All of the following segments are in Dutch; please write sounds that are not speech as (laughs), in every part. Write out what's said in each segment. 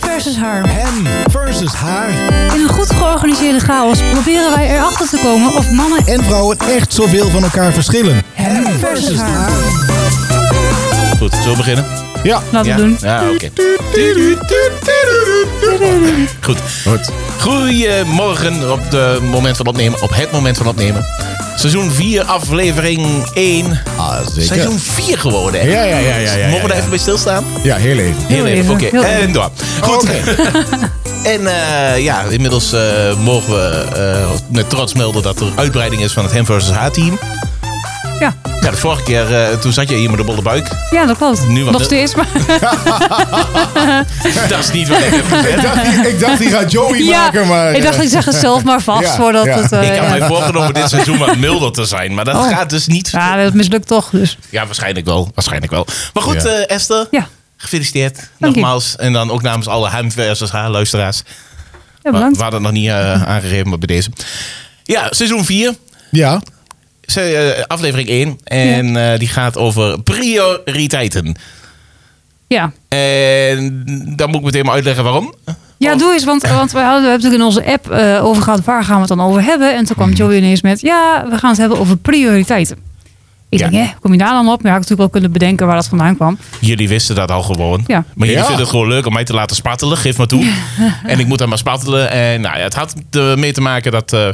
versus haar. Hem versus haar. In een goed georganiseerde chaos proberen wij erachter te komen of mannen en vrouwen echt zoveel van elkaar verschillen. Hem versus haar. Goed, zullen we beginnen? Ja. Laten ja. we doen. Ja, oké. Goed. Goed. Goedemorgen op het moment van opnemen. Op het moment van opnemen. Seizoen 4, aflevering 1. Ah, zeker. Seizoen 4 geworden, hè? Ja, ja, ja, ja, ja, Mogen we ja. daar even bij stilstaan? Ja, heel even. Heel Heel even, even, oké. heel even. En door. Goed. (laughs) En eh, ja, inmiddels eh, mogen we eh, met trots melden dat er uitbreiding is van het hem versus haar team. Ja. Ja, de vorige keer, eh, toen zat je hier met de bolle (laughs) buik. ja, dat klopt. Nu wat Nog de- steeds, maar (laughs) Dat is niet wat ik heb gezegd. Ik dacht, die- ik dacht, die gaat (laughs) Joey ja, maken, maar... eh, ik dacht ik zeg het zelf maar vast Ja, voordat ja. het... eh, Ik had ja. mij voorgenomen dit seizoen wat milder te zijn, maar dat Oh. gaat dus niet. Ja, dat mislukt toch, dus Ja, waarschijnlijk wel. Waarschijnlijk wel. Maar Ja. goed, eh, Esther, ja, gefeliciteerd. Dank je. nogmaals. En dan ook namens alle hem versus haar luisteraars. ja We, bedankt. we hadden het nog niet eh, aangegeven, maar bij deze. Ja, seizoen 4. Ja. Ze- eh, aflevering 1. En eh, die gaat over prioriteiten. Ja, En dan moet ik meteen maar uitleggen waarom. ja doe eens, want, want we hadden we hebben natuurlijk in onze app eh, over gehad... waar gaan we het dan over hebben? En toen kwam Hmm. Joey ineens met... ja, we gaan het hebben over prioriteiten. Ik Ja. denk, hè, kom je daar dan op? Maar ja, ik had natuurlijk wel kunnen bedenken waar dat vandaan kwam. Jullie wisten dat al gewoon. Ja. Maar jullie Ja. vinden het gewoon leuk om mij te laten spartelen. Geef maar toe. (laughs) en ik moet dan maar spartelen. En nou ja, het had ermee te maken dat eh,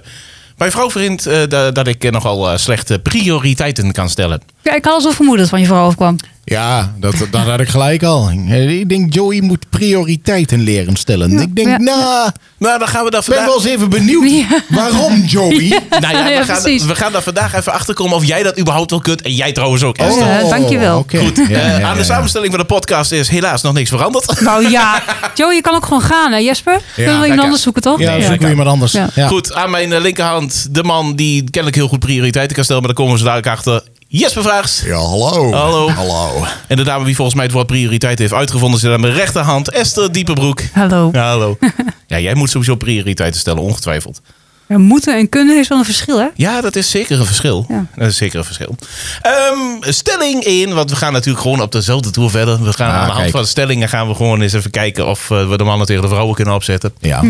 mijn vrouw vindt eh, da- dat ik eh, nogal eh, slechte prioriteiten kan stellen. Ja, ik had al zo vermoed dat het van je vrouw afkwam. Ja, dat, dat had ik gelijk al. Ik denk, Joey moet prioriteiten leren stellen. ik denk, ja. nou, ik Nou, dan gaan we daar ben wel vandaag... eens even benieuwd Ja. waarom, Joey. Nou ja, (laughs) we, Ja, gaan, precies. we gaan daar vandaag even achter komen of jij dat überhaupt wel kunt. En jij trouwens ook. Esther. Ja, dankjewel. Oh, oké. Goed, Ja, eh, ja, ja, aan de ja. samenstelling van de podcast is helaas nog niks veranderd. Nou (laughs) ja, Joey, je kan ook gewoon gaan, hè Jesper? Kunnen we lekker. iemand anders zoeken, toch? Ja, zoeken we iemand anders. Ja. Ja. Goed, aan mijn eh, linkerhand de man die kennelijk heel goed prioriteiten kan stellen, maar daar komen ze dadelijk achter. Jesper Vraags. Ja, hallo. Hallo. Hallo. En de dame die volgens mij het woord prioriteit heeft uitgevonden zit aan mijn rechterhand, Esther Diepenbroek. Hallo. Ja, (laughs) hallo. ja, jij moet sowieso prioriteiten stellen, ongetwijfeld. Ja, moeten en kunnen is wel een verschil, hè? Ja, dat is zeker een verschil. Ja. Dat is zeker een verschil. Ehm, stelling 1, want we gaan natuurlijk gewoon op dezelfde toer verder. We gaan Ah, aan de hand kijk. van de stellingen gaan we gewoon eens even kijken of eh, we de mannen tegen de vrouwen kunnen opzetten. Ja.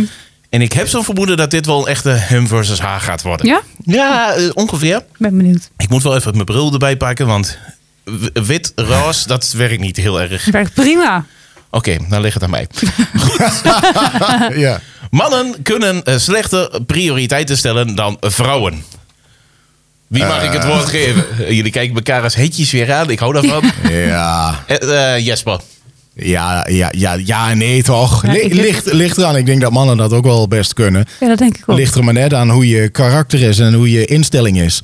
En ik heb zo'n vermoeden dat dit wel een echte hem versus haar gaat worden. Ja? Ja, eh, ongeveer. Ik ben benieuwd. Ik moet wel even mijn bril erbij pakken, want w- wit, roze, dat werkt niet heel erg. Het werkt prima. Oké, dan ligt het aan mij. (laughs) ja. Mannen kunnen eh, slechter prioriteiten stellen dan vrouwen. Wie mag Eh. ik het woord geven? Eh, Jullie kijken elkaar als hetjes weer aan. Ik hou daarvan. Ja. Eh, eh, Jesper. Ja, ja, ja, ja, en nee toch. Ja, Li- ik- ligt, ligt eraan. Ik denk dat mannen dat ook wel best kunnen. Ja, dat denk ik ook. Ligt er maar net aan hoe je karakter is en hoe je instelling is.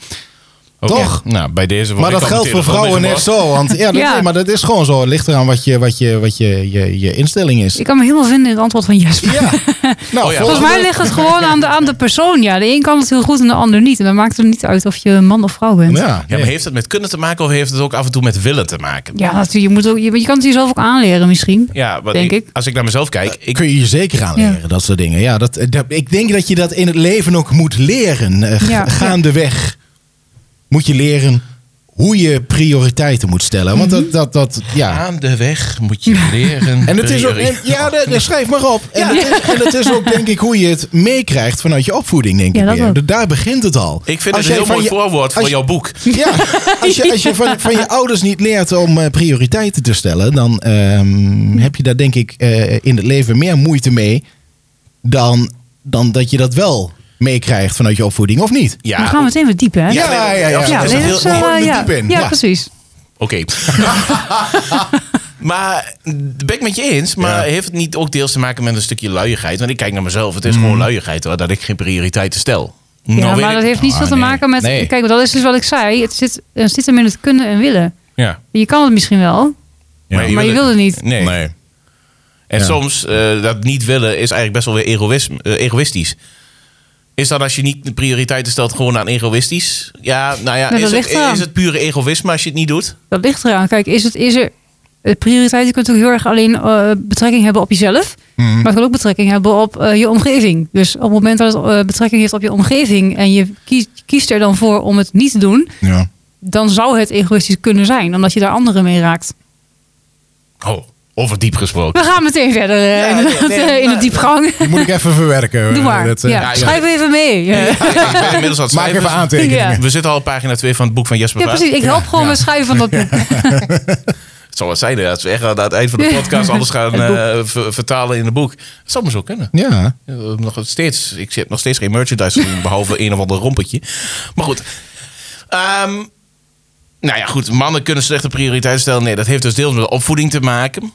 Oké. Toch? Nou, bij deze word Maar ik dat al geldt voor meteen een vrouwen ander net gebracht. zo. Want ja, dat, Ja. nee, maar dat is gewoon zo. Het ligt eraan wat je, wat je, wat je, je, je instelling (laughs) is. Ik kan me helemaal vinden in het antwoord van Jesper. Ja. Nou, Oh ja. volgende- Volgens mij ligt het gewoon aan de, aan de persoon. Ja, de een kan het heel goed en de ander niet. En dan maakt het niet uit of je man of vrouw bent. Ja, Ja, maar heeft het met kunnen te maken of heeft het ook af en toe met willen te maken? Ja, natuurlijk. Je, moet ook, je, je kan het jezelf ook aanleren misschien. Ja, want Denk ik- ik. als ik naar mezelf kijk, ik, Kun je je zeker aan leren, Ja. dat soort dingen. Ja, dat, dat- ik denk dat je dat in het leven ook moet leren. Eh, g- Ja. Gaandeweg moet je leren hoe je prioriteiten moet stellen. Want Mhm. dat, dat, dat ja, aan de weg moet je leren. En het is ook, en- prioriteit- ja, dat- dat schrijf maar op. En, het is, en het is ook, denk ik, hoe je het meekrijgt vanuit je opvoeding, denk Ja, ik. dat weer. ook. Daar begint het al. Ik vind Als het een jij heel van mooi je- voorwoord voor als je- jouw boek. Ja, als je, als je van, van je ouders niet leert om eh, prioriteiten te stellen, dan ehm, heb je daar, denk ik, eh, in het leven meer moeite mee dan, dan dat je dat wel meekrijgt vanuit je opvoeding, of niet? Ja, Dan gaan we meteen weer diep, hè? Ja, Ja, ja, ja. Ja, dat nee, heel- dat eh, gewoon ja, diep in. ja, Ja. precies. (laughs) Oké. maar ben ik met je eens, maar Ja. heeft het niet ook deels te maken met een stukje luiigheid? Want ik kijk naar mezelf, het is gewoon luiigheid hoor, dat ik geen prioriteiten stel. Nou ja, weet maar ik- dat heeft niet Ah, veel te nee. maken met... Nee. Kijk, dat is dus wat ik zei. Het zit, het zit hem in het kunnen en willen. Ja. Je kan het misschien wel, maar je wil het niet. Nee. En Ja. soms eh, dat niet willen is eigenlijk best wel weer egoïsme, eh, egoïstisch. Is dat als je niet de prioriteiten stelt gewoon aan egoïstisch? Ja, nou ja, Nou, is dat het, ligt eraan. is het pure egoïsme als je het niet doet? Dat ligt eraan. Kijk, is het, is er, eh, prioriteiten kunnen natuurlijk heel erg alleen eh, betrekking hebben op jezelf. Maar het kan ook betrekking hebben op eh, je omgeving. Dus op het moment dat het eh, betrekking heeft op je omgeving en je kiest, kiest er dan voor om het niet te doen, Ja. dan zou het egoïstisch kunnen zijn, omdat je daar anderen mee raakt. Oh, oké. Over diep gesproken. We gaan meteen verder (laughs) eh, Ja, inderdaad, nee, nee, in de maar- diepgang. Die moet ik even verwerken. Doe maar. Dat, eh, ja. ja, ja. Schrijf even mee. Ja, ja, Ja, ik (laughs) ben inmiddels aan het Maak schrijven. even aantekeningen. Ja. We zitten al op pagina 2 van het boek van Jesper Vaas. precies. Ik help gewoon met schrijven van dat boek. Het zou wat zijn hè, dat we echt aan het eind van de podcast (laughs) alles gaan eh, ver- vertalen in een boek. Dat zou maar zo kunnen. Ja. Eh, Nog steeds, ik heb nog steeds geen (laughs) merchandise gezien, behalve een of ander rompetje. Maar goed. Ehm, nou ja, goed. Mannen kunnen slechte prioriteiten stellen. Nee, dat heeft dus deels met de opvoeding te maken.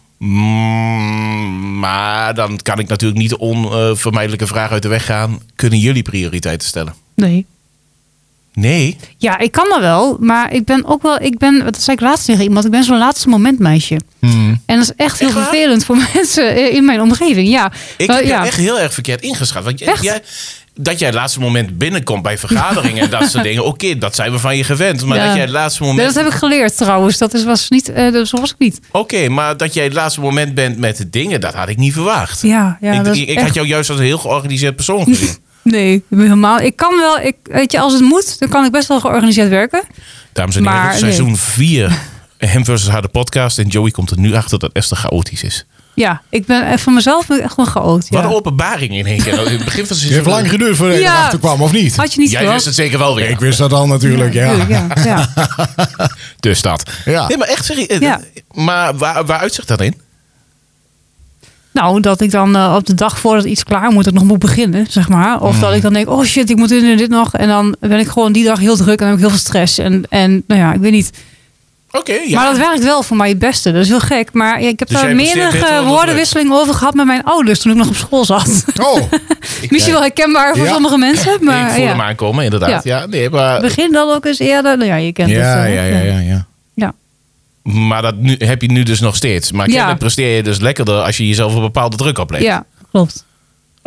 Mm, maar dan kan ik natuurlijk niet de onvermijdelijke vraag uit de weg gaan. Kunnen jullie prioriteiten stellen? Nee. Nee. Ja, ik kan dat wel. Maar ik ben ook wel... Ik ben, dat zei ik laatst tegen iemand. Ik ben zo'n laatste moment meisje. Hmm. En dat is echt heel Echt waar? vervelend voor (laughs) mensen eh, in mijn omgeving. Ja. Ik Eh, heb ja. je echt heel erg verkeerd ingeschat. Want j- Echt? jij, dat jij het laatste moment binnenkomt bij vergaderingen en dat (laughs) soort dingen. Oké, dat zijn we van je gewend. Maar Ja. dat jij het laatste moment. Nee, dat heb ik geleerd trouwens. Dat is, was niet... eh, dat was ik niet. Oké, maar dat jij het laatste moment bent met de dingen, dat had ik niet verwacht. Ja, ja. ik dat is ik, ik echt- had jou juist als een heel georganiseerd (laughs) persoon gezien. Nee, ik ben helemaal. Ik kan wel, ik, weet je, als het moet, dan kan ik best wel georganiseerd werken. Dames en heren, Maar, seizoen 4. Hem versus haar de podcast. En Joey komt er nu achter dat Esther chaotisch is. Ja, ik ben eh, van mezelf ben ik echt gewoon geoot. Wat een Ja. openbaring in (laughs) één keer. In het begin van Het heeft seizoen lang geduurd voordat je Ja. erachter kwam, of niet? Had je niet Jij wist gewacht? het zeker wel weer. Ik wist dat al natuurlijk, ja. tuurlijk, ja, (laughs) ja. Dus dat. Ja. Nee, maar echt serieus. Ja. Maar waar, waar uitzicht dat in? Nou, dat ik dan eh, op de dag voordat iets klaar moet, dat nog moet beginnen, zeg maar. Of dat ik dan denk, oh shit, ik moet dit en dit nog. En dan ben ik gewoon die dag heel druk en heb ik heel veel stress. En, en nou ja, ik weet niet. Oké, ja. Maar dat werkt wel voor mij het beste. Dat is heel gek. Maar ja, ik heb Dus daar jij presteert beter meerdere onder druk? woordenwisseling over gehad met mijn ouders toen ik nog op school zat. (laughs) Oh, (laughs) Misschien wel herkenbaar voor Ja. sommige mensen, ik maar voel hem ja. aankomen, inderdaad. Ja. nee, maar, Begin dan ook eens eerder. Nou ja, je kent het. ja, eh, ja, ja, ja. ja. Ja. maar dat nu, heb je nu dus nog steeds. Maar Ja. kennelijk presteer je dus lekkerder als je jezelf een bepaalde druk oplegt. ja, klopt.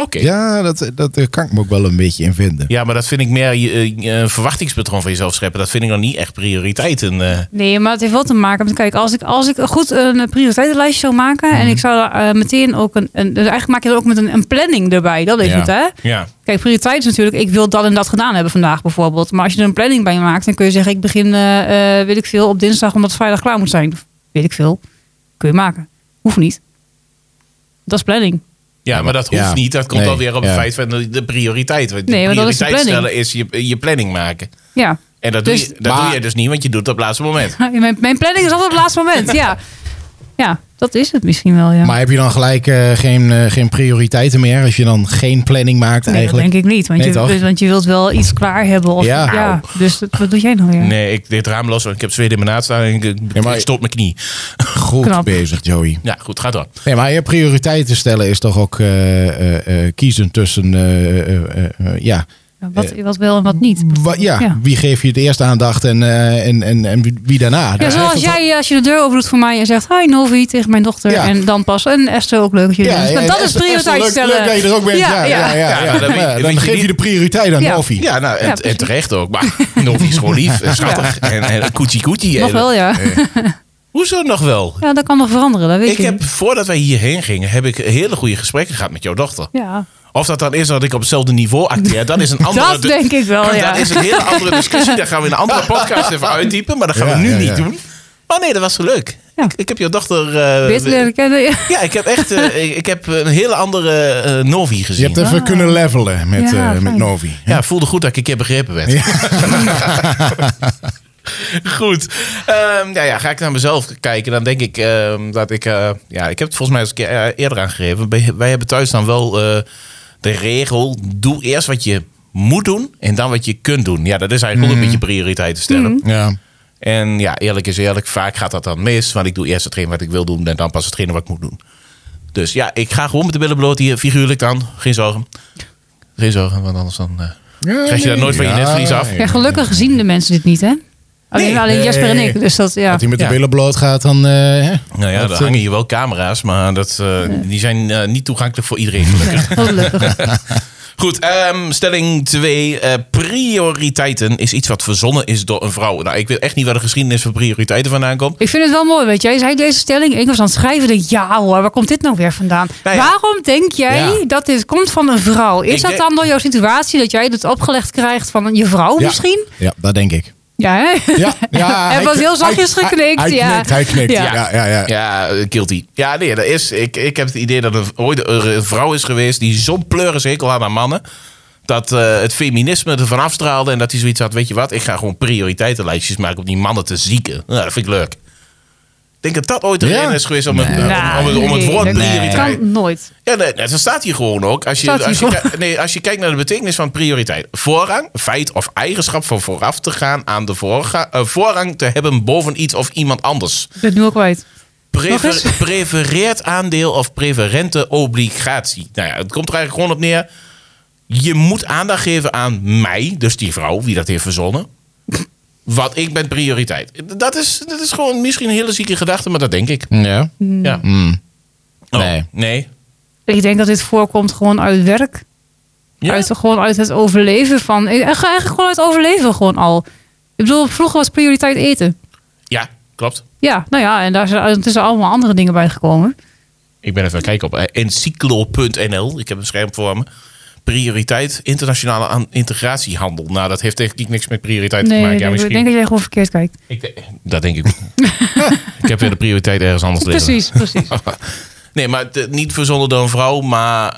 Oké. Ja. Ja, dat, dat eh, kan ik me ook wel een beetje in vinden. maar dat vind ik meer je- eh, je- een verwachtingspatroon van jezelf scheppen. Dat vind ik nog niet echt prioriteiten. eh. Nee, maar het heeft wel te maken met, kijk, als ik, als ik goed een eh, prioriteitenlijstje zou maken en ik zou daar eh, meteen ook een, een, dus eigenlijk maak je dat ook met een, een planning erbij, dat is ja. het, hè? Ja. Kijk, prioriteit is natuurlijk, ik wil dat en dat gedaan hebben vandaag bijvoorbeeld. Maar als je er een planning bij maakt, dan kun je zeggen, ik begin, eh, eh, weet ik veel, op dinsdag omdat het vrijdag klaar moet zijn. Of Weet ik veel. Kun je maken. Hoeft niet. Dat is planning. ja, maar dat hoeft Ja. niet. Dat komt Nee, alweer op ja. het feit van de, de prioriteit. Want de Nee, want dat is de prioriteit stellen is je, je planning maken. Ja. (laughs) En dat, Dus- doe, je, dat Maar- doe je dus niet, want je doet het op het laatste moment. Mijn, mijn planning is altijd op het laatste moment. Ja. Ja, dat is het misschien wel, ja. Maar heb je dan gelijk eh, geen, eh, geen prioriteiten meer als je dan geen planning maakt Nee, eigenlijk? dat denk ik niet. Want, Nee, je, toch? want je wilt wel iets klaar hebben. Of, Ja. ja. Dus dat- wat doe jij nou weer? Nee, ik deed het raam los, want ik heb zweet in mijn naad staan en ik, ik Ja, maar- ik stoot mijn knie. Goed Knap. bezig, Joey. Ja, goed, gaat dan. Nee, maar je prioriteiten stellen is toch ook eh, eh, eh, kiezen tussen, eh, eh, eh, eh, ja, Ja, Nou, Wat, wat wel en wat niet. Wa- ja, Ja. wie geef je het eerst aandacht en, eh, en, en, en wie- wie daarna? Ja, Daar zoals heeft het jij, eh, als je de deur open doet voor mij en zegt... Hi Novi tegen mijn dochter. Ja. En dan pas. En Esther ook leuk dat jullie Ja, er zijn. ja, Maar dus dat en is Esther- prioriteit Esther, stellen. Leuk, leuk dat je er ook bent. Ja, ja, ja. ja, Ja, dan weet- Maar weet dan je geef je niet- de prioriteit aan Ja. Novi. Ja, nou, en, Ja, en precies. terecht ook. Maar (laughs) Novi is gewoon lief en schattig. En, en koetsie koetsie. Nog En- wel, ja. Hoezo nog wel? Ja, dat kan nog veranderen. Dat weet Ik je. heb, voordat wij hierheen gingen, heb ik hele goede gesprekken gehad met jouw dochter. Ja, Of dat dan is dat ik op hetzelfde niveau acteer, dat is een (laughs) andere... dat denk ik wel, ja. (laughs) Dat is een hele andere discussie. Daar gaan we in een (laughs) andere podcast even uitdiepen. Maar dat gaan Ja, we nu ja, niet ja. doen. Maar nee, dat was zo leuk. Ja. Ik, ik heb jouw dochter... eh, Beter leren kennen. Ja. ja, ik heb echt eh, ik, ik heb een hele andere eh, Novi Je gezien. hebt even kunnen levelen met, Ah. Ja, eh, met fijn. Novi. Ja, voelde goed dat ik een keer begrepen werd. (laughs) goed. Ehm, nou ja, ga ik naar mezelf kijken, dan denk ik ehm, dat ik... eh, ja, ik heb het volgens mij eens een keer eh, eerder aangegeven. Bij- Wij hebben thuis dan wel eh, de regel... doe eerst wat je moet doen en dan wat je kunt doen. Ja, dat is eigenlijk ook een beetje prioriteiten stellen. Ja. En ja, eerlijk is eerlijk, vaak gaat dat dan mis. Want ik doe eerst hetgeen wat ik wil doen en dan pas hetgene wat ik moet doen. Dus ja, ik ga gewoon met de billen bloot hier, figuurlijk dan. Geen zorgen. Geen zorgen, want anders dan... eh, Krijg je dat nooit van je netvlies af? Ja, gelukkig zien de mensen dit niet, hè? Alleen, Nee. alleen Jasper en Nee. ik. Dus dat, ja. Dat hij met de Ja. billen bloot gaat, dan... eh, hè? Nou ja, Dat, er eh, hangen hier wel camera's, maar dat, eh, die zijn eh, niet toegankelijk voor iedereen gelukkig. (laughs) Gelukkig. Goed, ehm, stelling 2. prioriteiten is iets wat verzonnen is door een vrouw. Nou, ik weet echt niet waar de geschiedenis van prioriteiten vandaan komt. Ik vind het wel mooi, weet je. Hij zei deze stelling. Ik was aan het schrijven. Denk, ja hoor, waar komt dit nou weer vandaan? Nou ja. Waarom denk jij Ja. dat dit komt van een vrouw? Is Ik dat denk- dan door jouw situatie dat jij dit opgelegd krijgt van je vrouw ja. misschien? Ja, dat denk ik. Ja, hè? (laughs) Ja, ja, Hij was kn- heel zachtjes hij- geknikt, Hij, ja. hij knikt, hij knikt. Ja, Ja. ja, ja. Ja, eh, guilty. Ja, nee, dat is, ik, ik heb het idee dat er ooit een vrouw is geweest die zo'n pleurishekel had aan mannen. Dat eh, het feminisme ervan afstraalde en dat hij zoiets had, weet je wat, ik ga gewoon prioriteitenlijstjes maken om die mannen te zieken. Nou, dat vind ik leuk. Ik denk dat dat ooit de Ja. reden is geweest om het, Nee. (laughs) om- Nou, om, het- om het nee, woord dat prioriteit. kan nooit. Ja, nee, nee, dat staat hier gewoon ook. Als je, Staat hier als, je, gewoon. ki- nee, als je kijkt naar de betekenis van prioriteit. Voorrang, feit of eigenschap van vooraf te gaan aan de voorga- eh, voorrang te hebben boven iets of iemand anders. Ik ben het nu al kwijt. Prefer- Nog eens? prefereert aandeel of preferente obligatie. Nou ja, het komt er eigenlijk gewoon op neer. Je moet aandacht geven aan mij, dus die vrouw, wie dat heeft verzonnen. Wat ik ben prioriteit. Dat is, dat is gewoon misschien een hele zieke gedachte, maar dat denk ik. Ja. Hmm. Ja. Mm. Oh, Nee. Nee. Ik denk dat dit voorkomt gewoon uit werk. Ja? Uit, gewoon uit het overleven van... eh, Eigenlijk gewoon uit overleven gewoon al. Ik bedoel, vroeger was prioriteit eten. ja, klopt. Ja, nou ja, en daar zijn ondertussen allemaal andere dingen bij gekomen. Ik ben even aan het kijken op eh, encyclo.nl. Ik heb een scherm voor me. Prioriteit internationale aan- integratiehandel. Nou, dat heeft eigenlijk niks met prioriteit te Nee, maken. ik Ja, denk- ik denk misschien. dat jij gewoon verkeerd kijkt. Ik denk- dat denk ik. (laughs) ik heb weer de prioriteit ergens anders liggen. Precies, precies. (laughs) Nee, maar het- niet verzonnen door een vrouw, maar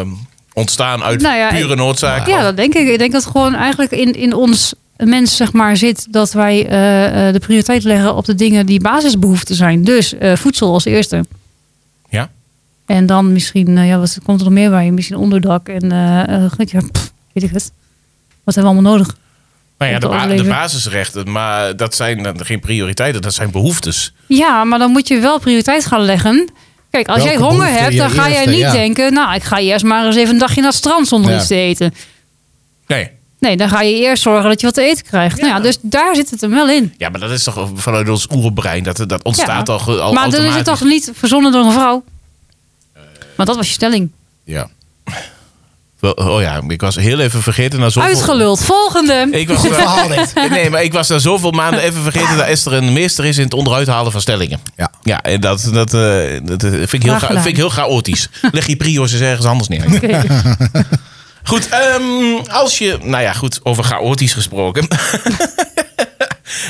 eh, ontstaan uit Nou ja, pure ik- noodzaak. Ja, dat denk ik. Ik denk dat het gewoon eigenlijk in, in ons mens zeg maar, zit dat wij eh, eh, de prioriteit leggen op de dingen die basisbehoeften zijn. Dus eh, voedsel als eerste. Ja? En dan misschien, eh, ja, wat komt er nog meer bij? Misschien onderdak en eh eh, ja, pff, weet ik het. Wat hebben we allemaal nodig? Nou ja, Om de, te ba- de overleven. basisrechten, maar dat zijn dan geen prioriteiten, dat zijn behoeftes. Ja, maar dan moet je wel prioriteit gaan leggen. Kijk, als Welke jij honger behoefte hebt, je dan ga jij eerste, niet ja. denken... nou, ik ga eerst maar eens even een dagje naar het strand zonder Ja. iets te eten. Nee. Nee, dan ga je eerst zorgen dat je wat te eten krijgt. Nou ja, dus daar zit het hem wel in. Ja, maar dat is toch vanuit ons oerbrein, dat, dat ontstaat Ja. al, ge- al maar dan is automatisch. het toch niet verzonnen door een vrouw? Want dat was je stelling. Ja. Wel- Oh ja, ik was heel even vergeten. Na zoveel... Uitgeluld. Volgende. (laughs) Ik was Goed (laughs) verhaal dit. Nee, maar ik was na zoveel maanden even vergeten dat Esther een meester is in het onderuit halen van stellingen. Ja. Ja, en dat, dat, eh, dat eh, vind, ik heel Graag cha- gedaan. vind ik heel chaotisch. Leg je prio's eens ergens anders neer. Oké. Goed, ehm, als je... Nou ja, goed, over chaotisch gesproken. (laughs)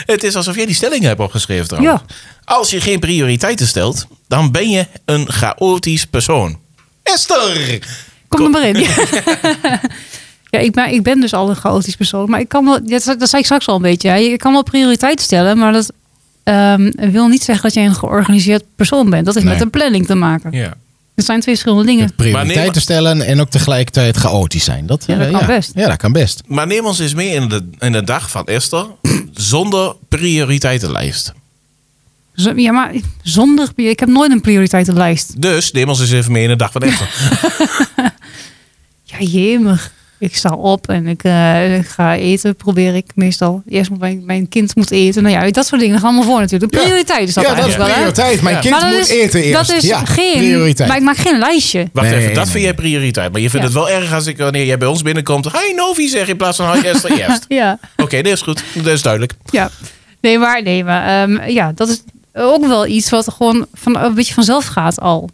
Het is alsof jij die stellingen hebt opgeschreven trouwens. Ja. Als je geen prioriteiten stelt, dan ben je een chaotisch persoon. Esther! Kom er maar in. (laughs) ja, ik ben, ik ben dus al een chaotisch persoon. Maar ik kan wel, ja, dat, dat zei ik straks al een beetje. hè. Je kan wel prioriteiten stellen, maar dat ehm, wil niet zeggen dat jij een georganiseerd persoon bent. Dat heeft Nee. met een planning te maken. Ja. Dat zijn twee verschillende dingen. Maar nee, maar- Prioriteiten stellen en ook tegelijkertijd chaotisch zijn. Dat, Ja, dat eh, kan best. Ja, dat kan best. Maar neem ons eens mee in de, in de dag van Esther zonder prioriteitenlijst. Z- Ja, maar zonder, ik heb nooit een prioriteitenlijst. Dus neem ons eens even mee in de dag van Esther. Ja, jemig. Ik sta op en ik, eh, ik ga eten, probeer ik meestal. Eerst moet mijn, mijn kind moet eten. Nou ja, dat soort dingen gaan allemaal voor natuurlijk. De Ja. prioriteit is dat ja, dat is eigenlijk wel. hè? prioriteit. Mijn Ja. kind Maar dat moet is- eten eerst. Dat is ja, geen prioriteit. Maar ik maak geen lijstje. Wacht Nee, even, dat nee, vind jij prioriteit. Maar je Ja. vindt het wel erg als ik, wanneer jij bij ons binnenkomt... Hi Novi zeg in plaats van hi (laughs) Esther eerst. Ja, Oké, dat is goed. Dat is duidelijk. ja. Nee, maar, nee, maar ehm, ja, dat is ook wel iets wat gewoon van, een beetje vanzelf gaat al.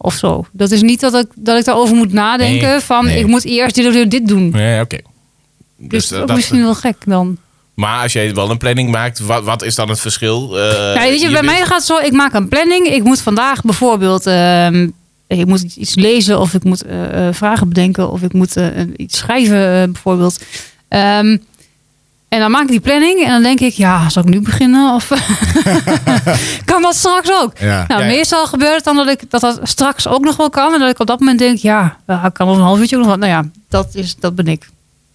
Of zo. Dat is niet dat ik, dat ik daarover moet nadenken Nee, van nee. ik moet eerst dit, of dit, dit doen. Ja, oké. Dus, Dus, dat eh, is ook dat- misschien wel gek dan. maar als jij wel een planning maakt, wat, wat is dan het verschil? Eh, Nou, weet je, bij bent- mij gaat het zo, ik maak een planning. Ik moet vandaag bijvoorbeeld, ehm, ik moet iets lezen of ik moet eh, eh, vragen bedenken of ik moet eh, een- iets schrijven eh, bijvoorbeeld. Ehm, en dan maak ik die planning en dan denk ik, ja, zal ik nu beginnen? Of (laughs) kan dat straks ook? Ja. Nou, Ja, ja. meestal gebeurt het dan dat ik dat, dat straks ook nog wel kan. En dat ik op dat moment denk, ja, ja, ik kan over een half uurtje ook nog wat. Nou ja, dat, is, dat ben ik.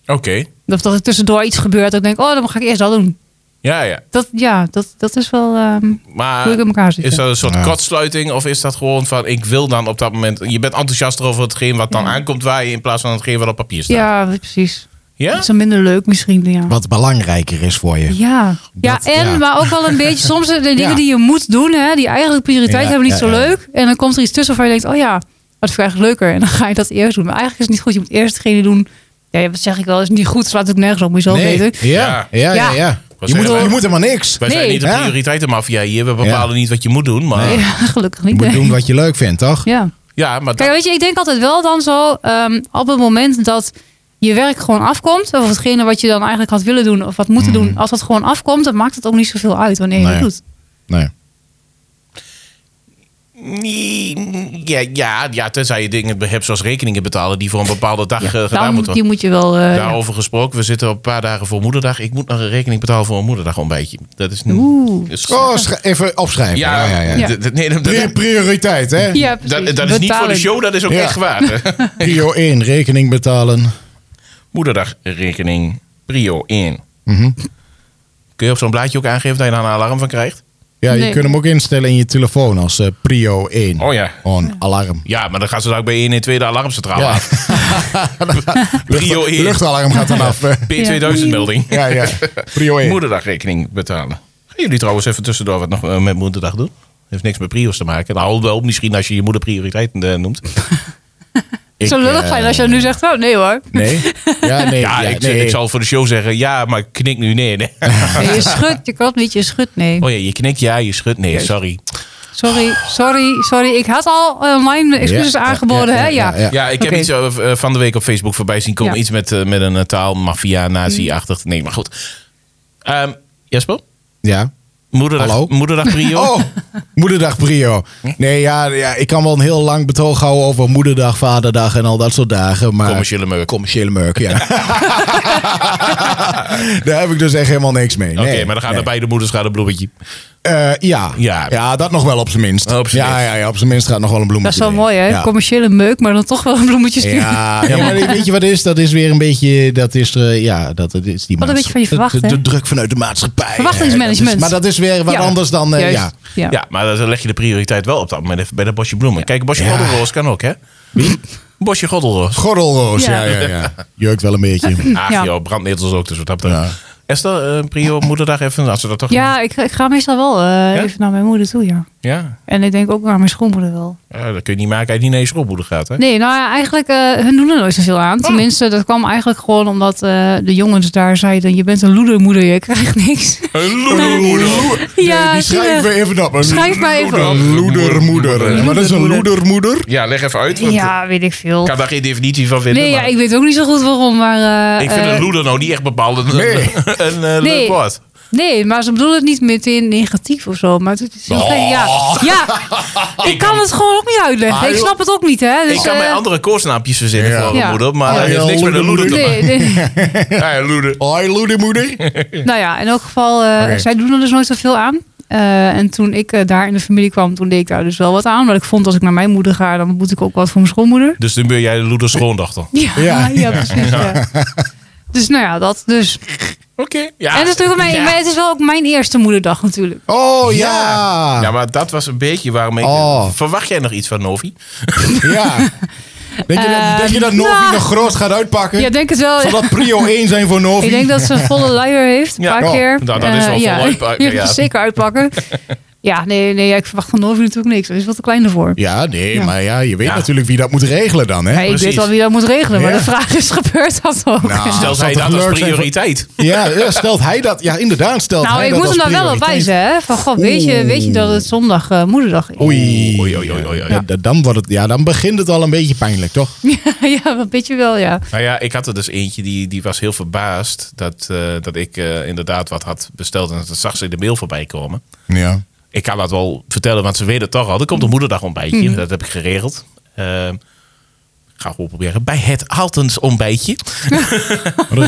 Oké, Of dat er tussendoor iets gebeurt. Dat ik denk, oh, dan ga ik eerst dat doen. ja, ja. Dat, ja, dat, dat is wel ehm, Maar hoe ik in elkaar zit. Ah, is dat een soort Ja. kortsluiting? Of is dat gewoon van, ik wil dan op dat moment... Je bent enthousiaster over hetgeen wat dan aankomt waar je... in plaats van hetgeen wat op papier staat. Ja, precies. Ja? Iets minder leuk misschien. Ja. Wat belangrijker is voor je. Ja. ja, Dat- en ja. maar ook wel een beetje soms eh, de dingen Ja. die je moet doen, hè, die eigenlijk prioriteit Ja, hebben, niet zo ja, ja. leuk. En dan komt er iets tussen waarvan je denkt, oh ja, dat vind ik eigenlijk leuker. En dan ga je dat eerst doen. Maar eigenlijk is het niet goed. Je moet eerst degene doen. Ja, ja, dat zeg ik wel, is niet goed. Slaat ook nergens op, moet je zelf Nee. weten. Ja, ja, ja. Ja. ja. Was Je, moet, helemaal- je moet helemaal niks. Wij zijn Nee. niet de Ja. prioriteitenmafia hier. We bepalen niet wat je moet doen. Maar Nee, (laughs) gelukkig Je niet. moet nee. doen wat je leuk vindt, toch? Ja. ja, maar dat- Kijk, weet je, ik denk altijd wel dan zo, ehm, op het moment dat je werk gewoon afkomt, of hetgene wat je dan eigenlijk had willen doen of wat moeten doen, als dat gewoon afkomt, dan maakt het ook niet zoveel uit wanneer je Mm. Nee. dat doet. Nee. Nee, Ja, ja, ja, tenzij je dingen hebt zoals rekeningen betalen die voor een bepaalde dag eh, gedaan Nou, Daarom, moeten die worden. moet je wel. eh, ja. Daarover gesproken, we zitten op een paar dagen voor moederdag. Ik moet nog een rekening betalen voor een moederdag ontbijtje. Dat is nu. Oeh. is- Oh, schri- even opschrijven. ja, Ja, ja, ja. Ja. d- d- Nee, dat, Pri- dat, prioriteit, hè? Ja, dat- precies. dat is niet voor de Betaling. show, dat is ook Ja. echt waar. (laughs) Prio 1, rekening betalen. moederdag rekening, prio 1. Mhm. Kun je op zo'n blaadje ook aangeven dat je daar een alarm van krijgt? Ja, je Nee. kunt hem ook instellen in je telefoon als eh, prio 1. Oh ja. On alarm. Ja, maar dan gaan ze daar ook bij 1 en 2 de alarmcentrale (laughs) Ja. af. Prio 1. Luchtalarm gaat dan (laughs) af. eh. P2000 melding. Ja, ja. Prio 1. Moederdagrekening betalen. Gaan jullie trouwens even tussendoor wat nog eh, met moederdag doen? Heeft niks met prio's te maken. Nou, hou wel op misschien als je je moeder prioriteiten eh, noemt. Het zou Ik, lullig eh, zijn als je nu zegt, oh nee (laughs) hoor. Nee? Ja, nee. Ja, ik, nee. ik zal voor de show zeggen, ja, maar ik knik nu nee. nee. Nee, je schudt, je klopt niet, je schudt nee. Nou. Oh ja, je knikt ja, je schudt nee, sorry. Sorry, sorry, sorry. Ik had al eh, mijn excuses Ja, ja, aangeboden, ja, hè? ja, Ja. ja. Ja, ik heb Oké. iets eh, eh, van de week op Facebook voorbij zien komen. Ja. Iets met, eh, met een eh, taal, maffia, nazi-achtig. Nee, maar goed. Ehm Jesper? Ja. Moederdag, Hallo? moederdag prio? (laughs) Oh, moederdag prio. Nee, ja, ja, ik kan wel een heel lang betoog houden over moederdag, vaderdag en al dat soort dagen. Maar Commerciële meuk. Commerciële meuk, ja. (laughs) Daar heb ik dus echt helemaal niks mee. (laughs) Eh, Oké, maar dan gaan er beide moeders gaan een bloemetje. ja. Ja. Oh, ja. dat nog wel op zijn minst. Op zijn ja, minst. ja, ja, op zijn minst gaat nog wel een bloemetje. Dat is wel mee. mooi, hè? Ja. Commerciële meuk, maar dan toch wel een bloemetje sturen. (laughs) Ja, ja, maar weet je wat is? Dat is weer een beetje. Dat is, eh, ja, dat, dat is die Wat een maatsch- beetje van je verwacht, de, de, hè? de druk vanuit de maatschappij. Verwachtingsmanagement. Dat is- maar dat is weer wat Ja. anders dan. eh, Juist. ja. Ja. Ja, maar dan leg je de prioriteit wel op dat moment even bij dat bosje bloemen. Kijk, een bosje Ja. goddelroos kan ook, hè? Wie? Bosje goddelroos. Gordelroos, ja. Ja. Ja, ja, Jeukt wel een (laughs) beetje. Ach Ja. joh, brandnetels ook, dus wat dat betreft. Ja. Esther, eh, prio moederdag even, als ze dat toch... Ja, ik, ik ga meestal wel eh, even naar mijn moeder toe, ja. Ja. En ik denk ook naar mijn schoonmoeder wel. Ja, dat kun je niet maken als je niet naar je schoolmoeder gaat, hè? Nee, nou ja, eigenlijk, eh, hun doen er nooit zoveel aan. Oh. Tenminste, dat kwam eigenlijk gewoon omdat eh, de jongens daar zeiden... je bent een loedermoeder, je krijgt niks. (laughs) Een loedermoeder. ja, die zielig. schrijven we even op. Een Schrijf maar even op. Een loedermoeder. Ja, maar dat is een loedermoeder. Ja, leg even uit, want Ja, weet ik veel. ik kan daar geen definitie van vinden. Nee, ja, maar ik weet ook niet zo goed waarom, maar... eh, ik vind eh, een loeder nou niet echt bepaald een, Nee. (laughs) een, eh, leuk Nee. woord. Nee, maar ze bedoelen het niet meteen negatief of zo. Maar het is heel gek. Ja, Oh. (laughs) ja. ik kan het gewoon ook niet uitleggen. Ah, Ik joh. snap het ook niet, hè. Dus, ik kan eh, bij andere koosnaampjes verzinnen Ja. voor een Ja. moeder, maar Ja, dat heeft ja, niks met een loeder te maken. Nee, nee. Ja, een loeder. Hoi, loedermoeder. nou ja, in elk geval, eh, Oké. zij doen er dus nooit zoveel aan. Eh, en toen ik eh, daar in de familie kwam, toen deed ik daar dus wel wat aan. Want ik vond, als ik naar mijn moeder ga, dan moet ik ook wat voor mijn schoonmoeder. Dus dan ben jij de loeder schoondochter. Ja, Ja. (laughs) ja. precies. ja. Dus nou ja, dat dus. Oké. Ja. en het is, natuurlijk mijn, maar het is wel ook mijn eerste moederdag natuurlijk. Oh ja. Ja, Ja. maar dat was een beetje waarom ik... Oh. Verwacht jij nog iets van Novi? Denk je dat, denk je dat Novi nou. nog groot gaat uitpakken? Ja, ik denk het wel. Zal dat prio 1 zijn voor Novi? Ik denk dat ze een volle luier heeft, een Ja, paar oh, keer. nou, dat is wel Eh, ja. vol (laughs) uitpakken, Je kunt ja. het zeker (laughs) uitpakken. ja, nee, nee, ja, ik verwacht van Novi natuurlijk niks. Daar is wat te klein voor. Ja, nee, Ja. maar ja, je weet Ja. natuurlijk wie dat moet regelen dan, hè? Ja, ik weet precies. wel wie dat moet regelen, maar Ja. de vraag is, (laughs) gebeurt dat ook? Nou, Nou, (laughs) Stel dat zij zou toch dat als leuk zijn voor- prioriteit. Ja, ja, stelt hij dat? Ja, inderdaad, stelt hij Nou, ik dat moet hem als daar wel op prioriteit. wijzen, hè? Van, god, weet je, Oeh. weet je dat het zondag eh, moederdag is? Oei. Oei, oei, oei, oei, oei. Ja, da- Dan, wordt het, ja, dan begint het al een beetje pijnlijk, toch? (laughs) ja, een beetje wel, ja. Nou ja, ik had er dus eentje die, die was heel verbaasd dat, eh, dat ik eh, inderdaad wat had besteld. En dat zag ze in de mail voorbij komen. Ja. Ik kan dat wel vertellen, want ze weten het toch al. Er komt een moederdag ontbijtje. Mhm. Dat heb ik geregeld. Ehm, ga gewoon proberen. Bij het Altens ontbijtje. Wat een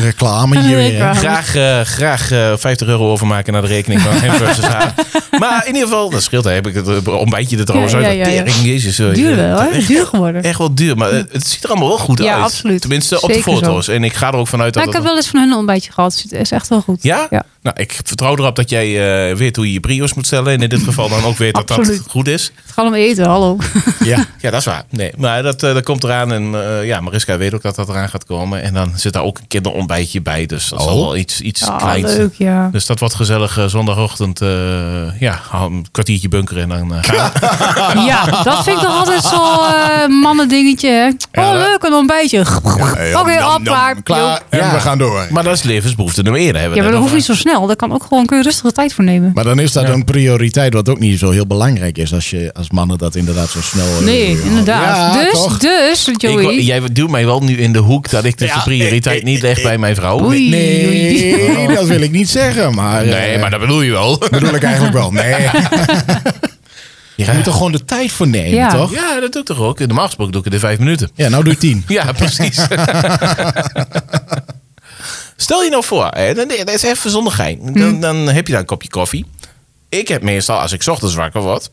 (laughs) reclame hier weer. hè? Reclame. Graag, eh, graag eh, 50 euro overmaken naar de rekening van hem versus (laughs) haar. Maar in ieder geval, dat scheelt. hè, Heb ik het eh, ontbijtje er trouwens Ja, uit. ja, ja, ja. Tering, jezus. eh, Duur wel, dat- hè? Duur geworden. Echt wel duur, maar eh, het ziet er allemaal wel goed Ja, uit. absoluut. Tenminste, op de Zeker zo. foto's. En ik ga er ook vanuit dat... Maar ik heb dat- wel eens van hun een ontbijtje gehad. dus Het is echt wel goed. Ja? Ja. Nou, ik vertrouw erop dat jij eh, weet hoe je je brio's moet stellen. En in dit geval dan ook weet dat dat Absoluut. goed is. Het gaat om eten, hallo. Ja. Ja, dat is waar. Nee, maar dat, eh, dat komt eraan. En eh, ja, Mariska weet ook dat dat eraan gaat komen. En dan zit daar ook een kinderontbijtje bij. Dus dat is Oh. al wel iets, iets (laughs) Ah, kleins. leuk, (laughs) ja. Dus dat wordt gezellig eh, zondagochtend. eh, ja, een kwartiertje bunkeren en dan eh, gaan we. Ja, dat vind ik toch altijd zo'n eh mannendingetje, hè? Ja, oh, dat- leuk, een ontbijtje. Ja, Oké, (laughs) nam, nam, op, klaar. Klaar, en Ja. we gaan door. Maar dat is levensbehoefte nummer één. Ja, maar dat hoeft niet zo snel. snel. Daar kan ook gewoon kun je rustige tijd voor nemen. Maar dan is dat een prioriteit wat ook niet zo heel belangrijk is als, je, als mannen dat inderdaad zo snel... eh, Nee, doen. inderdaad. Ja, dus, toch? dus, Ik, Joey. wou- jij duwt mij wel nu in de hoek dat ik dus Ja, de prioriteit ik- niet leg bij mijn vrouw. Oei. Nee, (laughs) Oei. dat wil ik niet zeggen, maar... eh, Nee, maar dat bedoel je wel. bedoel ik eigenlijk wel. Nee. (laughs) Je moet er gewoon de tijd voor nemen, Ja. toch? Ja, dat doe ik toch ook. Normaal gesproken doe ik het in vijf minuten. Ja, nou doe je tien. Ja, (laughs) precies. Stel je nou voor, hè, dan- dat is even zonder gein. Hmm. Dan, dan heb je daar een kopje koffie. Ik heb meestal, als ik 's ochtends wakker word,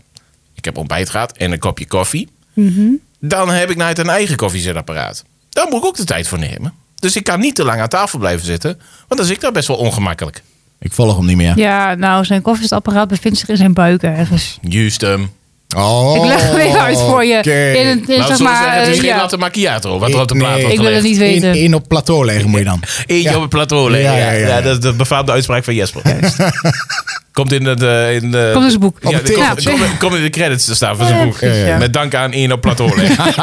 ik heb ontbijt gehad en een kopje koffie. Mhm. Dan heb ik naar een eigen koffiezetapparaat. Daar moet ik ook de tijd voor nemen. Dus ik kan niet te lang aan tafel blijven zitten, want dan zit ik daar best wel ongemakkelijk. Ik volg hem niet meer. Ja, nou, zijn koffiezetapparaat bevindt zich in zijn buik ergens. Juist hem. Oh, ik leg hem even uit voor je. oké. In een, in, Laten Nou, we Dus zeg zo maar, zeggen, het is eh, geen ja. latte macchiato, wat er op de Nee. plaat wordt Ik wil het gelegd. niet Eén weten. één op plateau leggen moet je dan. Eentje Ja. op het plateau liggen. Ja, ja, Ja, ja, ja. dat is de befaamde uitspraak (laughs) van Jesper. Komt in het... eh, in, eh, Komt in zijn boek. Ja, Op het komt- tegeltje. komt- Komt in de credits te staan van zijn Ja, boek. precies, ja. Met dank aan één op plateau liggen.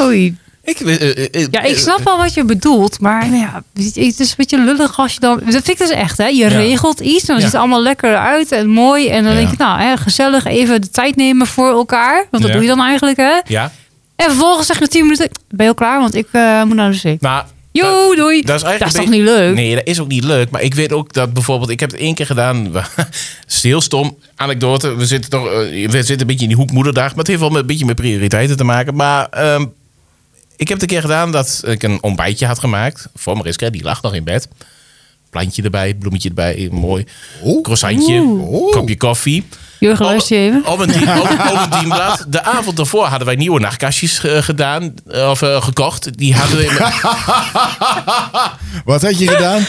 Oei. (laughs) ik, eh, eh, eh, Ja, ik snap wel wat je bedoelt, maar nou ja, het is een beetje lullig als je dan... Dat vind ik dus echt, hè. Je regelt iets, dan Ja. ziet het allemaal lekker uit en mooi. En dan Ja. denk ik, nou, hè, gezellig even de tijd nemen voor elkaar. Want dat Ja. doe je dan eigenlijk, hè. Ja, En vervolgens zeg je tien minuten, ben je al klaar? Want ik eh, moet naar de wc. nou... Jo, doei. Dat is, eigenlijk toch een beetje- niet leuk? Nee, dat is ook niet leuk. Maar ik weet ook dat bijvoorbeeld... Ik heb het één keer gedaan. (laughs) is heel stom. Anekdote. We zitten, toch, eh, we zitten een beetje in die hoekmoederdag. Maar het heeft wel met- een beetje met prioriteiten te maken. Maar ehm, ik heb het een keer gedaan dat ik een ontbijtje had gemaakt. Voor Mariska. Die lag nog in bed. Plantje erbij. Bloemetje erbij. Mooi. Oeh. Croissantje. Oeh. Kopje koffie. Jurgen, Oh. luister je even? Op een, (laughs) dien- op, op een dienblad. De avond daarvoor hadden wij nieuwe nachtkastjes eh, gedaan. eh, Of eh, gekocht. Die hadden we... Wat had je (laughs) gedaan?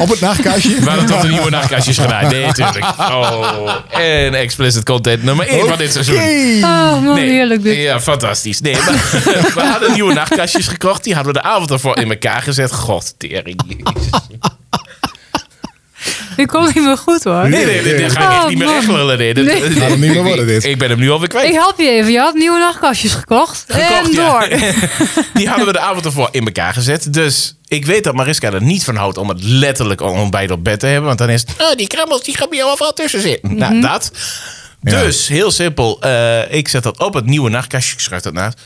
Op het nachtkastje? We hadden tot (laughs) de nieuwe nachtkastjes gedaan. Nee, tuurlijk. Oh, en explicit content nummer 1 van dit seizoen. Oké. Oh, man, heerlijk dit. Ja, fantastisch. Nee, maar (laughs) we hadden nieuwe nachtkastjes gekocht. Die hadden we de avond ervoor in elkaar gezet. God, tering. jezus. Dit komt niet meer goed, hoor. Nee, nee, nee, dit ga ik echt Oh, niet meer man. echt lullen. Nee, dit- Nee. dit- Gaat hem niet meer worden, dit. Ik ben hem nu alweer kwijt. Ik help je even. Je had nieuwe nachtkastjes gekocht. en Gekocht, ja. door. Die hadden we de avond ervoor in elkaar gezet. Dus ik weet dat Mariska er niet van houdt om het letterlijk om ontbijt op bed te hebben. Want dan is het, "Ah, die krabbels die gaan bij jou overal tussen zitten. Mhm. Nou, dat. Dus, heel simpel. eh, ik zet dat op het nieuwe nachtkastje. Ik schrijf dat naast.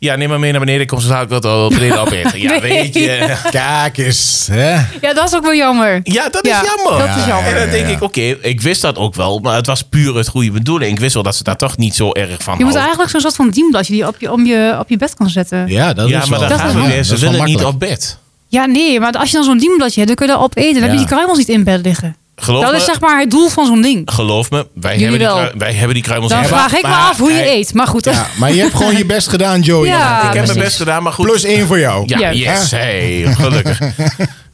Ja, neem maar mee naar beneden. Ik Kom zo dadelijk wat al beneden opeten. (laughs) Ja, Nee. weet je. Kijk eens. Hè? Ja, dat is ook wel jammer. Ja, dat is Ja, jammer. dat is jammer. En dan denk Ja, ja, ja. ik, oké, ik wist dat ook wel. Maar het was puur het goede bedoeling. Ik wist wel dat ze daar toch niet zo erg van Je moet houdt. eigenlijk zo'n soort van dienbladje die je op je, om je op je bed kan zetten. Ja, Ja, dat Ja, is maar wel... dat daar gaan is we wel- weer. Ze dat is wel willen niet makkelijk. op bed. nee, maar als je dan zo'n dienbladje hebt, dan kun je daarop eten. Dan heb je Ja. die kruimels niet in bed liggen. Geloof dat me, is zeg maar het doel van zo'n ding. geloof me, wij Jullie hebben, die, wel. krui- wij hebben die kruimels Dan in- vraag ik me maar- af hoe je nee. eet. Maar goed, Ja, maar je hebt gewoon je best gedaan, Joey. Ja. Ik heb mijn precies. best gedaan, maar goed. Plus één voor jou. ja, Juist. yes, Ah. hey, (laughs) gelukkig. Ik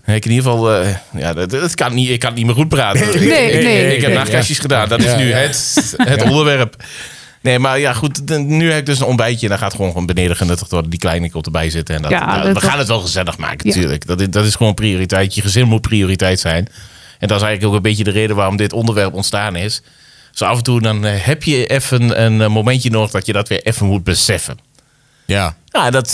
in ieder geval, eh, ja, dat, dat kan niet, ik kan niet meer goed praten. Nee, Ik- nee, ik, nee. ik heb Ja. nachtkastjes gedaan, dat Ja, is nu ja. het, het onderwerp. Nee, maar ja, goed, dan- nu heb ik dus een ontbijtje en dan gaat gewoon gewoon beneden genuttigd worden. Die kleine komt erbij zitten en dat, Ja, nou, dat- we gaan het wel gezellig maken Ja. natuurlijk. Dat, is- dat is gewoon prioriteit, je gezin moet prioriteit zijn. En dat is eigenlijk ook een beetje de reden waarom dit onderwerp ontstaan is. Dus af en toe dan eh, heb je even een eh, momentje nodig dat je dat weer even moet beseffen. Ja. Ja, dat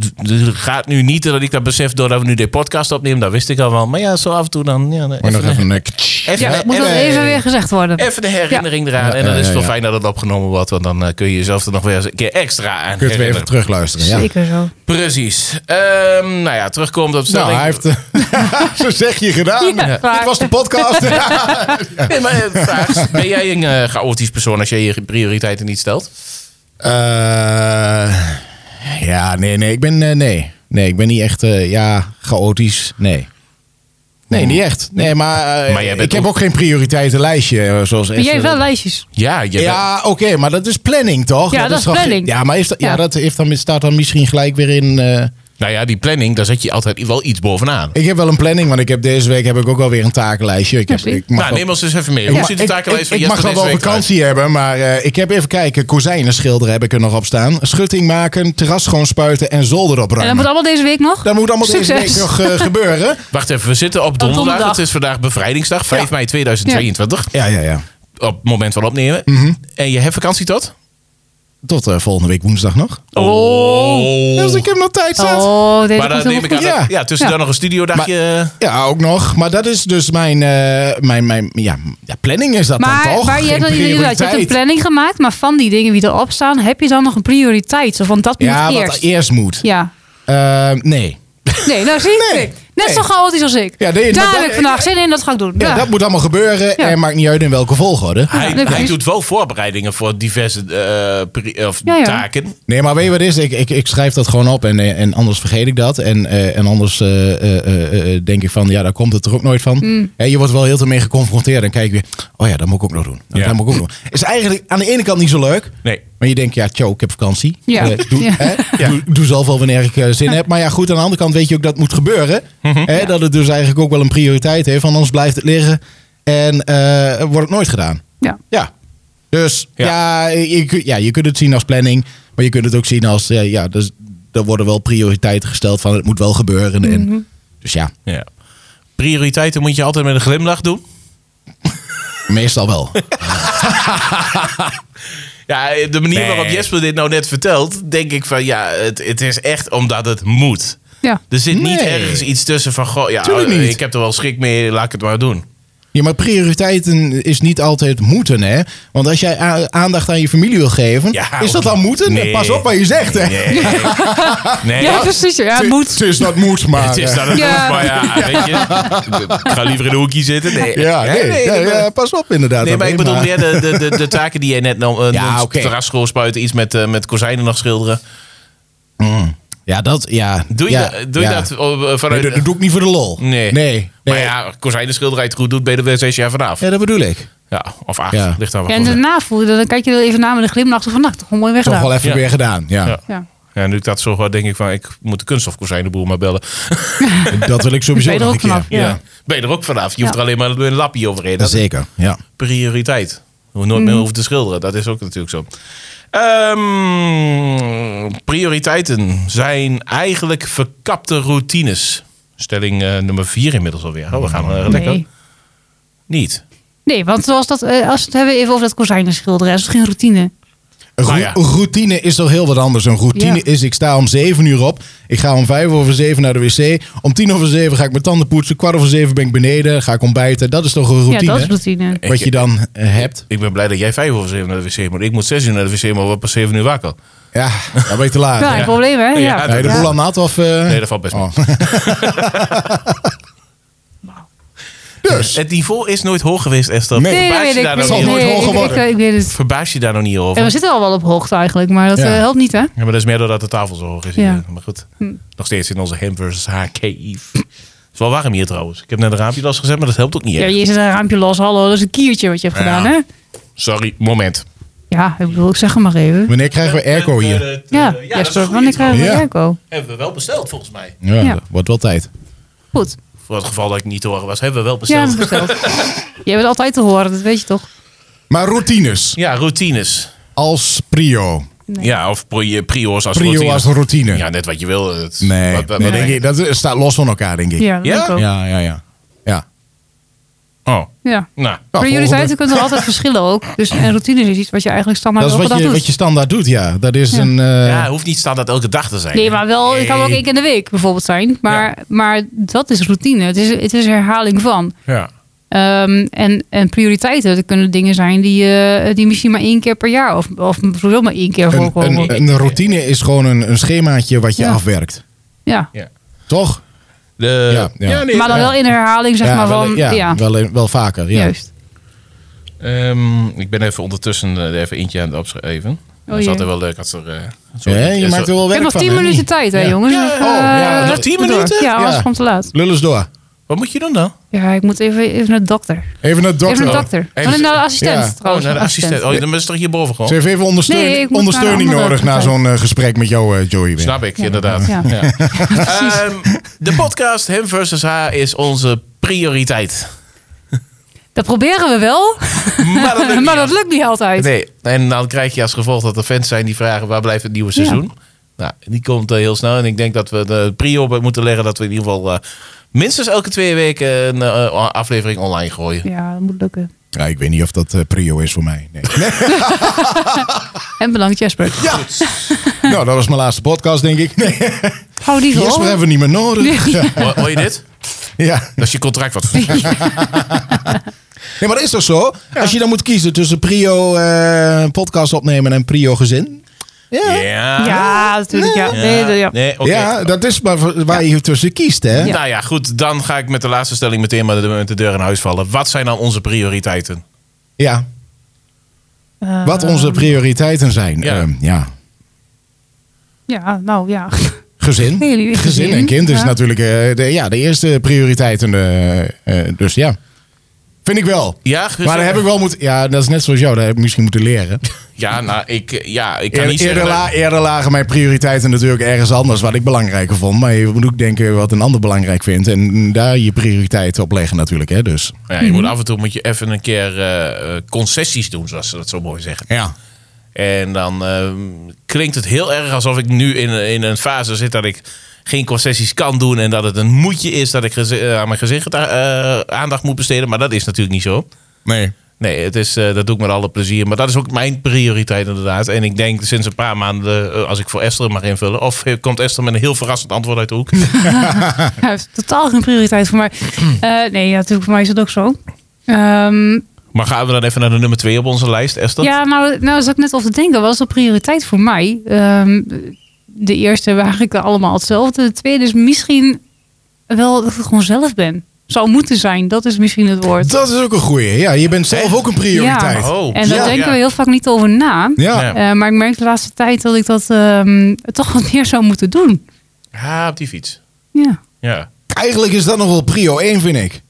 d- d- gaat nu niet dat ik dat besef doordat we nu de podcast opnemen. Dat wist ik al wel. Maar ja, zo af en toe dan. Ja, Maar nog even, even een... eh, even, ja, even, dat moet dat even weer gezegd worden. de herinnering eraan. Ja, En dan ja, is het wel ja, ja. fijn dat het opgenomen wordt. Want dan eh, kun je jezelf er nog weer eens een keer extra aan Kun je het weer even herinneren. terugluisteren, ja. Zeker zo. Precies. Ehm, nou ja, terugkomend op de Nou, stelling. hij heeft... (laughs) eh, Zo zeg je gedaan. Ja, Dit klaar. was de (laughs) podcast. Nee, maar, eh, vraag, ben jij een eh, chaotisch persoon als jij je prioriteiten niet stelt? Eh, ja, nee, nee. Ik ben, eh, nee. nee, ik ben niet echt eh, ja, chaotisch. Nee. Nee, niet echt. Nee, maar, eh, Maar jij bent ik heb ook- ook geen prioriteitenlijstje. eh, Zoals Maar jij echt, hebt wel eh, lijstjes. Ja, je Ja, oké, maar dat is planning toch? Ja, dat is toch- planning. Ja, maar is dat, ja. Ja. dat heeft dan, staat dan misschien gelijk weer in. eh, bent- nou ja, die planning, daar zet je altijd wel iets bovenaan. ik heb wel een planning, want ik heb deze week heb ik ook alweer een takenlijstje. Ik, heb, Ja, zie. ik mag nou, wel- neem ons eens even mee. ik Hoe mag- ziet de ik- takenlijst van Ik, ik mag Jesper nog deze wel week eruit? vakantie hebben, maar eh, ik heb even kijken. Kozijnen schilderen heb ik er nog op staan. Schutting maken, terras schoon spuiten en zolder En dat moet opruimen. allemaal deze week nog. Dat moet allemaal deze Succes. week nog eh, (laughs) gebeuren. Wacht even, we zitten op donderdag. donderdag. Het is vandaag bevrijdingsdag, 5 Ja. mei 2022. Ja, ja, ja. Mhm. Op het moment van opnemen. En je hebt vakantie tot? Tot eh, volgende week woensdag nog. Oh. Dus ik heb nog tijd zat. Oh, deze Maar komt dan neem helemaal ik goed. aan dat- Ja. ja, tussendoor nog een studiodagje. Ja, ook nog. Maar dat is dus mijn, eh, mijn, mijn ja, ja, planning is dat dan Maar, toch? maar je, hebt, Geen wel- inderdaad, je hebt een prioriteit. planning gemaakt, maar van die dingen die erop staan, heb je dan nog een prioriteit? Zo van dat moet Ja, wat eerst. er eerst moet. Ja. Eh, nee. Nee, nou zie je. Nee, Net nee. zo chaotisch als ik. Ja, nee, Daar maar heb dat- ik vandaag zin in, dat ga ik doen. Ja, Ja. Dat moet allemaal gebeuren Ja. en maakt niet uit in welke volgorde. Hij, nee, hij precies. doet wel voorbereidingen voor diverse eh, pri- of Ja, ja. taken. Nee, maar weet je wat het is? Ik, ik, ik schrijf dat gewoon op en, eh, en anders vergeet ik dat. En, eh, en anders eh, eh, eh, eh, denk ik van, ja, daar komt het er ook nooit van. Mm. Ja, je wordt wel heel veel mee geconfronteerd en kijk je weer, oh ja, dat moet ik ook nog doen. Ja. Dat moet ik ook nog doen. Is eigenlijk aan de ene kant niet zo leuk. Nee. Maar je denkt, ja, tjo, ik heb vakantie. Ja. Eh, doe, Ja. Hè? Doe, doe zelf wel wanneer ik eh, zin heb. Maar ja, goed, aan de andere kant weet je ook dat het moet gebeuren. Hè? Dat het dus eigenlijk ook wel een prioriteit heeft. want Anders blijft het liggen en eh, wordt het nooit gedaan. Ja. Ja. Dus Ja. ja. je, kun- ja, je kunt het zien als planning. Maar je kunt het ook zien als, ja, ja dus, er worden wel prioriteiten gesteld van het moet wel gebeuren. En, Mhm. Dus ja, Ja. Prioriteiten moet je altijd met een glimlach doen. meestal wel. Ja, de manier Nee. waarop Jesper dit nou net vertelt, denk ik van ja, het, het is echt omdat het moet. Ja. Er zit niet Nee. ergens iets tussen van goh, ja, eh, Tuurlijk niet. ik heb er wel schrik mee, laat ik het maar doen. Ja, maar prioriteiten is niet altijd moeten, hè? Want als jij a- aandacht aan je familie wil geven, Ja, is dat ook- dan moeten? nee. Pas op wat je zegt, hè? Nee, nee. Ja, precies. Ja, het moet. Het is dat moet, maar... (laughs) het is eh, dan een Ja. maar ja, weet je, ik ga liever in een hoekje zitten. Nee, Ja, nee, nee, ja, nee, ja, pas op inderdaad. Nee, maar ik dat bedoel meer de, de, de, de taken die jij net nam. (laughs) eh, Ja, noemt, oké. Terrasschool spuiten, iets met, eh, met kozijnen nog schilderen. Ja, dat... Ja, Doe je, ja, dat- doe je ja. dat eh, Nee, vanuit... dat, dat doe ik niet voor de lol. Nee. Nee. nee. Maar ja, kozijnen schilderij het goed doet, ben je er weer zes jaar vanaf. Ja, dat bedoel ik. Ja, of acht. Ja. Ligt daar Ja, wel en goed. daarna voel je dat, dan kijk je er even naar met een glimlach. Zo van, nou, toch gewoon mooi Toch weggedaan. wel even Ja. weer gedaan. Ja. Ja. Ja. Ja, nu ik dat zo hoor, denk ik van, ik moet de kunststofkozijnenboer maar bellen. (laughs) Dat wil ik sowieso (laughs) Ben je er nog ook een keer. vanaf? Ja. Ben je er ook vanaf? Je hoeft Ja. er alleen maar een lapje overheen. Dat is Zeker, ja. prioriteit. We nooit meer hoeven te schilderen. Dat is ook natuurlijk zo. Ehm, prioriteiten zijn eigenlijk verkapte routines. Stelling eh, nummer vier inmiddels alweer. Oh, we gaan eh, lekker. Nee. Niet. nee, want zoals dat, eh, als we het hebben even over dat kozijnen schilderen. Dat is geen routine. Een Nou roe- ja. routine is toch heel wat anders. Een routine Ja. is, ik sta om zeven uur op. Ik ga om vijf over zeven naar de wc. Om tien over zeven ga ik mijn tanden poetsen. Kwart over zeven ben ik beneden. Ga ik ontbijten. Dat is toch een routine? Ja, dat is routine. Wat je dan eh, hebt. Ik ben blij dat jij vijf over zeven naar de wc moet. Ik moet zes uur naar de wc, maar we worden pas zeven uur wakker. (laughs) Ja, dan ben je te laat. Ja, Ja. een probleem, hè? Ja, Ja. dat- je de boel aan de hand of... eh? Nee, dat valt best wel. Oh. (laughs) dus, Het niveau is nooit hoog geweest, Esther. Nee. Nee, dat weet Verbaas je ik. Nee, daar nou zal niet nooit nee, hoog ik- ik- worden. ik weet het. over? Verbaas je daar nou niet En over? we zitten al wel op hoogte eigenlijk, maar dat Ja. eh, helpt niet, hè? Ja, maar dat is meer doordat de tafel zo hoog is. Ja. Hm. hier. Maar goed, nog steeds in onze hem versus HKI. Het is wel warm hier trouwens. Ik heb net een raampje los gezet, maar dat helpt ook niet. Ja, echt. je zit een raampje los. Hallo, dat is een kiertje wat je hebt Ja. gedaan, hè? Sorry, moment. Ja, ik bedoel, ik zeg hem maar even. wanneer krijgen we airco hier? Ja, dat is Jesper, goed. wanneer krijgen we Ja. Jacco? Hebben we wel besteld volgens mij. Ja, Ja. wordt wel tijd. Goed. Voor het geval dat ik niet te horen was, hebben we wel Ja, besteld. dat Ja, besteld. (laughs) Jij bent altijd te horen, dat weet je toch? Maar routines routines. als prio. Nee. Ja, of pri- prio's als Prio routines. als routine. Ja, net wat je wil. Het- Nee, wat- wat- nee, wat- denk ik, dat staat los van elkaar, denk ik. Ja, dat Ja? denk ik ook. Ja. ja, ja. ja. ja. Oh, nou. Nou, Prioriteiten kunnen er altijd verschillen ook. Dus en routines is iets wat je eigenlijk standaard Dat is elke wat dag je, doet. wat je standaard doet, ja. Dat is een. eh, Ja, hoeft niet standaard elke dag te zijn. Nee, maar wel, het kan ook één keer in de week bijvoorbeeld zijn. Maar, maar dat is routine. Het is, het is herhaling van. Ja. Ehm, en, en prioriteiten, dat kunnen dingen zijn die, eh, die misschien maar één keer per jaar of, of zowel maar één keer een, voorkomen. een, een routine is gewoon een, een schemaatje wat je Ja. afwerkt. ja. ja. Toch? De, Ja, ja. nee, Maar dan wel in herhaling, zeg maar. wel, Van, ja, ja, Wel, wel vaker. Ja. juist. Ehm, ik ben even ondertussen eh, even eentje aan het Oh, opschrijven. dat is jee. altijd wel leuk als er... eh, zo- Ja, je eh, maakt er zo- wel Ik heb werk nog van, 10 hè? minuten tijd, hè, Ja. jongens. Ja, Dus, oh, ja, eh, nog 10 door. minuten? Ja, anders Ja. komt te laat. Lul eens door. Wat moet je doen dan? Ja, ik moet even, even naar de dokter. Even naar de dokter. Even naar de dokter. Even- Even naar de assistent, Ja. trouwens. oh, naar de assistent. Oh, dan is het toch Ze hierboven gewoon? heeft even ondersteuning, Nee, ik moet naar ondersteuning een andere nodig na partij. zo'n eh, gesprek met jou, eh, Joey. weer. Snap ik, inderdaad. Ja. Ja. (laughs) Ehm, de podcast Hem versus Haar is onze (laughs) prioriteit. Dat proberen we wel, (laughs) Maar Oh. dat lukt maar niet. dat lukt niet altijd. Nee, en dan krijg je als gevolg dat er fans zijn die vragen waar blijft het nieuwe seizoen. Nou, die komt eh, heel snel. En ik denk dat we de prio op moeten leggen dat we in ieder geval eh, minstens elke twee weken een eh, aflevering online gooien. Ja, dat moet lukken. Ja, ik weet niet of dat eh, prio is voor mij. Nee. (laughs) Nee. En bedankt Jasper. Ja. nou, dat was mijn laatste podcast, denk (laughs) ik. Nee. Hou die Jesper vol. hebben we niet meer (laughs) nodig. Nee. Ja. Hoor, hoor je dit? Ja. Dat is je contract wat. Nee, maar dat is toch zo? Als je dan moet kiezen tussen prio eh, podcast opnemen en prio gezin. Ja. Ja. Ja, natuurlijk. Ja. Nee, de- ja. Nee, oké. Ja, dat is maar v- waar je tussen kiest, hè? Ja. Nou ja, goed. Dan ga ik met de laatste stelling meteen maar de, met de deur in huis vallen. Wat zijn dan onze prioriteiten? Ja. Eh, Wat onze prioriteiten zijn. Ja. Ja. ja. Ja, nou ja. (laughs) Gezin. Jullie Gezin en kind is ja. natuurlijk eh, de, ja, de eerste prioriteit. En, eh, eh, dus ja. Vind ik wel. Ja, gezin. Maar daar heb ik wel moeten. Ja, dat is net zoals jou. Daar heb ik misschien moeten leren. Ja, nou, ik, ja, ik kan Eer- niet eerder, zeggen... la- eerder lagen mijn prioriteiten natuurlijk ergens anders wat ik belangrijker vond. Maar je moet ook denken wat een ander belangrijk vindt. En daar je prioriteiten op leggen natuurlijk. Hè, dus. Ja, je moet af en toe moet je even een keer eh, eh, concessies doen, zoals ze dat zo mooi zeggen. Ja. En dan ehm, klinkt het heel erg alsof ik nu in, in een fase zit dat ik geen concessies kan doen. En dat het een moedje is dat ik gezi- eh, aan mijn gezicht eh, aandacht moet besteden. Maar dat is natuurlijk niet zo. Nee. Nee, het is, eh, dat doe ik met alle plezier. Maar dat is ook mijn prioriteit inderdaad. En ik denk sinds een paar maanden, eh, als ik voor Esther mag invullen... of eh, komt Esther met een heel verrassend antwoord uit de hoek. Hij heeft totaal geen prioriteit voor (clears throat) mij. Eh, nee, ja, natuurlijk, voor mij is dat ook zo. Ehm, maar gaan we dan even naar de nummer twee op onze lijst, Esther? Ja, nou, nou zat ik net over te denken. Wat is de prioriteit voor mij? Ehm, de eerste waren ik allemaal hetzelfde. De tweede is misschien wel dat ik gewoon zelf ben. Zou moeten zijn, dat is misschien het woord. Dat is ook een goeie. Ja, je bent zelf ook een prioriteit. Ja. Ja. Oh, en daar ja. denken Ja. we heel vaak niet over na. Ja. Eh, maar ik merk de laatste tijd dat ik dat ehm, toch wat meer zou moeten doen. Ja, op die fiets. Ja. Ja. Eigenlijk is dat nog wel prio 1, vind ik.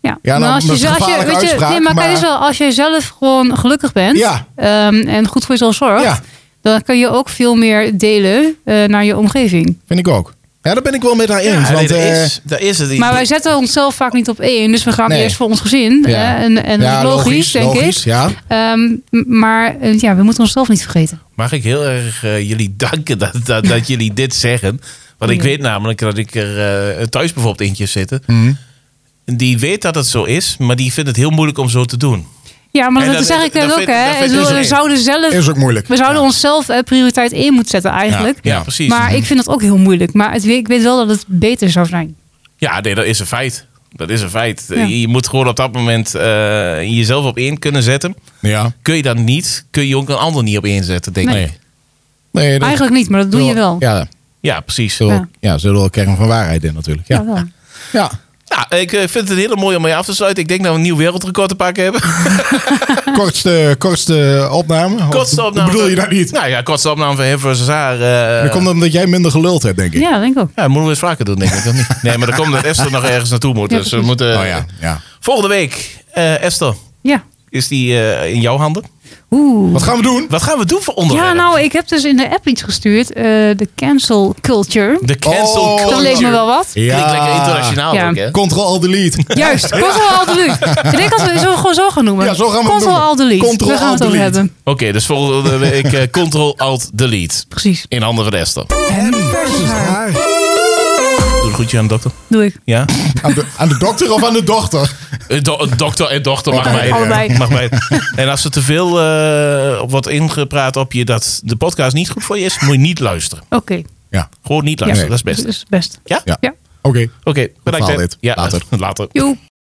Ja, Ja, nou, dat is een je, gevaarlijke je, uitspraak, nee, maar, kijk maar- eens wel, als jij zelf gewoon gelukkig bent Ja. ehm, en goed voor jezelf zorgt, Ja. dan kun je ook veel meer delen eh, naar je omgeving. Vind ik ook. Ja, daar ben ik wel met haar eens. Ja, want, nee, eh, dat, is, dat is het. Maar wij zetten onszelf vaak niet op één. Dus we gaan Nee. eerst voor ons gezin. Ja. hè, Eh, En, en ja, logisch, denk logisch, ik. Ja. Ehm, m- maar eh, ja, we moeten onszelf niet vergeten. Mag ik heel erg eh, jullie danken dat, dat, dat jullie dit zeggen. Want ik Ja. weet namelijk dat ik er eh, thuis bijvoorbeeld eentje zitten. Mhm. Die weet dat het zo is, maar die vindt het heel moeilijk om zo te doen. Ja, maar En dat, dat- zeg ik dat net ook. vind- dat Hè. vind Ik ik bedoel, dus We ook. zouden zelf... Is ook moeilijk. We zouden Ja. onszelf eh, prioriteit één moeten zetten eigenlijk. Ja, precies. Mhm. Maar ik vind dat ook heel moeilijk. Maar het, ik weet wel dat het beter zou zijn. Ja, nee, dat is een feit. Dat is een feit. Ja. Je moet gewoon op dat moment eh, jezelf op één kunnen zetten. Ja. Kun je dat niet, kun je ook een ander niet op één zetten, denk Nee. ik. Nee, dat- Eigenlijk niet, maar dat doe je wel. Ja, Ja, precies. zullen, Ja. ja. zullen wel kern van waarheid in natuurlijk. Ja. Ja, wel. Ja. Nou, ik eh, vind het heel mooi om mee af te sluiten. Ik denk dat we een nieuw wereldrecord te pakken hebben. Oh, Kortste, kortste opname. Of Kortste opname. Bedoel je dat niet? Nou ja, kortste opname van hem versus haar. eh, Dat komt omdat jij minder geluld hebt, denk ik. ja denk ik ook. Ja, dat moeten we eens vaker doen, denk ik. Of (laughs) niet? Nee, maar dan komt dat Esther nog ergens naartoe moet. Ja, Dus we precies. moeten... Oh ja, ja. Volgende week, eh, Esther, Ja. is die eh, in jouw handen? Oeh. Wat gaan we doen? Wat gaan we doen voor Ja, onderwerp? nou, ik heb dus in de app iets gestuurd. eh, De cancel culture. De cancel Oh, culture. Dat leek me wel wat. Klinkt lekker internationaal Ja. ook, hè? Ctrl delete. Juist, Control Alt Delete. Ik denk dat we het zo gewoon zo gaan noemen. Ja, zo gaan we het Control noemen. Alt Delete. Control, we gaan het Alt, over Delete. hebben. Oké, dus volgende week eh, Ctrl-Alt-Delete. Precies. In handen van Esther. En versus haar. Doe een groetje aan de dokter. Doe ik. Ja? Aan de, aan de dokter of aan de dochter? Eh, do- eh, dokter en dochter mag Allebei. mij. eh, Allebei. Mag mij. (laughs) En als er te veel eh, op wordt ingepraat op je dat de podcast niet goed voor je is, moet je niet luisteren. Oké. Ja. Gewoon niet luisteren, dat is best. Dat is best. Ja? Ja. Ja. Oké. Oké, bedankt. verhaal hè. dit. Later. (laughs) Later. Joep.